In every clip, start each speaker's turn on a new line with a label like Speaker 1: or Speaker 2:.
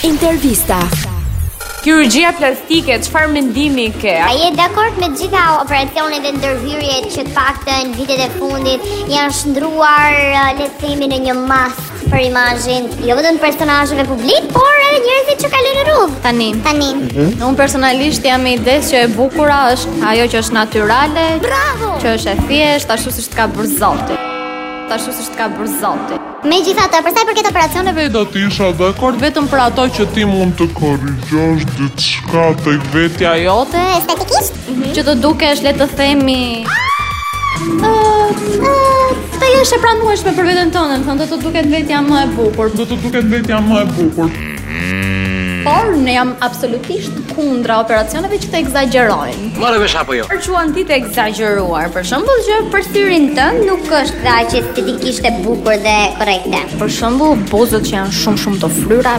Speaker 1: Intervista.
Speaker 2: Kirurgjia plastike, çfarë mendimi ke?
Speaker 3: A je dakord me gjitha operacionet e ndërhyrjet që të paktën vitet e fundit janë shndruar eh, le të themi në një mask për imazhin jo vetëm të personazheve publik, por edhe njerëzit që kalojnë rrugë.
Speaker 4: Tani,
Speaker 3: Tani,
Speaker 4: unë personalisht jam me idesë që e bukura është ajo që është natyrale,
Speaker 3: Mm-hmm. bravo.
Speaker 4: që është e thjeshtë, ashtu siç të ka bërë Zoti. Ashtu siç të ka bërë Zoti.
Speaker 3: Megjithatë, për sa i përket operacioneve
Speaker 5: do të isha dakord vetëm për ato që ti mund të korrigjosh diçka tek vetja Jo, jote.
Speaker 3: eh, estetikisht,
Speaker 4: Që të dukesh le të themi ë ë të jesh e pranueshme për veten tonë, më thonë do të duket vetja më e bukur.
Speaker 5: Do të duket vetja më e bukur.
Speaker 4: Por ne jam absolutisht kundra operacioneve që të egzagjerojnë.
Speaker 6: Morë vesh apo jo?
Speaker 2: Për quan ti të egzageruar, për shembull që për syrin tënd nuk është
Speaker 3: kaq estetikisht e bukur dhe korrekte,
Speaker 4: Për shembull, bozët që janë shumë shumë të fryra,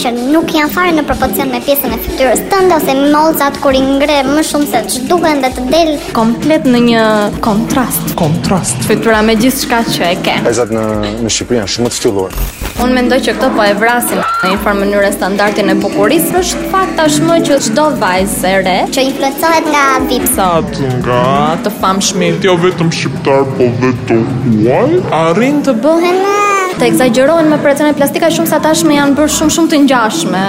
Speaker 3: që nuk janë fare në proporcion me pjesën e fytyrës tënde ose molzat kur i ngre më shumë se ç'duhen dhe të del
Speaker 4: komplet në një kontrast.
Speaker 5: Kontrast.
Speaker 4: Fytyra me gjithçka që e ke.
Speaker 7: Vajzat në në Shqipëri janë shumë të ftylluar.
Speaker 4: Unë mendoj që këto po e vrasin në një farë mënyrë standardin e bukurisë, është fakt tashmë që çdo vajzë e re
Speaker 3: që influencohet nga vips.
Speaker 5: Sa të nga
Speaker 4: të famshmi
Speaker 5: jo vetëm shqiptar, po dhe të huaj, arrin të
Speaker 4: bëhen të egzagjerohen me operacione plastika shumë sa tashmë janë bërë shumë shumë të ngjashme.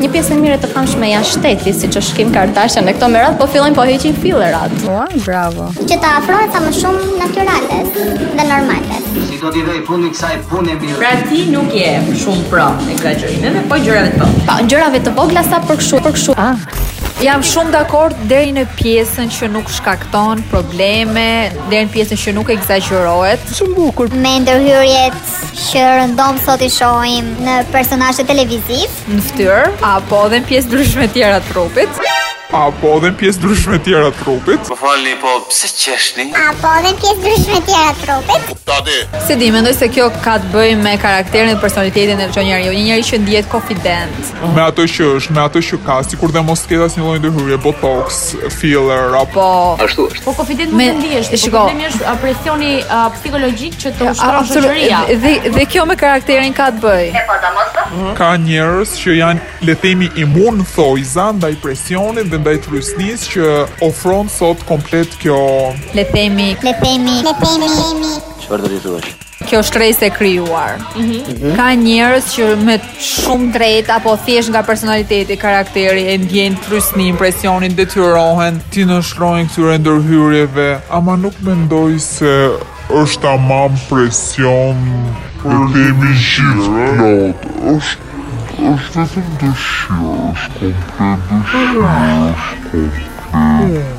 Speaker 4: Një pjesë e mire të famshme janë shteti, siç është Kim Kardashian e këto me radhë po fillojnë po heqin fillerat.
Speaker 3: që të afrohet sa më shumë natyrales dhe normales.
Speaker 6: Si do t'i dhej fundin kësaj pune mirë.
Speaker 2: Pra ti nuk je shumë pro egzagjerimeve, po gjërave të tilla.
Speaker 4: Pa gjërave të vogla sa për kështu, për kështu.
Speaker 8: Jam shumë dakord deri në pjesën që nuk shkakton probleme, deri në pjesën që nuk egzagjerohet.
Speaker 7: Shumë bukur.
Speaker 3: Me ndërhyrjet që rëndom sot i shohim në personazhe televiziv,
Speaker 8: në fytyrë apo edhe në pjesë ndryshme tjera të trupit.
Speaker 5: apo edhe në pjesë ndryshme tjera të trupit.
Speaker 6: Po falni, po pse qeshni?
Speaker 3: apo edhe në pjesë ndryshme tjera të trupit,
Speaker 8: Se di, mendoj se kjo ka të bëjë me karakterin dhe personalitetin e çdo njeriu, një njeri që ndihet confident.
Speaker 5: Me ato që është, me ato që ka, sikur dhe mos ketë asnjë lloj ndërhyrje, botox, filler apo
Speaker 8: Po,
Speaker 6: Ashtu është.
Speaker 9: Po konfident
Speaker 8: Me-
Speaker 9: nuk ndihesh, po
Speaker 8: shiko.
Speaker 9: problemi është a, presioni a, psikologjik që të ushtrosh
Speaker 8: absolutisht.
Speaker 9: shoqëria.
Speaker 8: Dhe dhe kjo me karakterin ka të bëjë.
Speaker 6: Po.
Speaker 5: ka njerëz që janë le të themi imun thojza ndaj presionit dhe ndaj trysnisë që ofron sot komplet kjo
Speaker 8: Le themi,
Speaker 3: le themi, le themi,
Speaker 6: Çfarë do t'i thuash?
Speaker 8: kjo shtresë e krijuar. Ka njerëz që me shumë drejt apo thjesht nga personaliteti, karakteri e ndjejnë trysnin, presionin,
Speaker 5: detyrohen ti në shkruajnë këtyre ndërhyrjeve, ama nuk mendoj se është tamam presion për temi gjithë plot, është është vetëm dëshirë, është komplet dëshirë, është komplet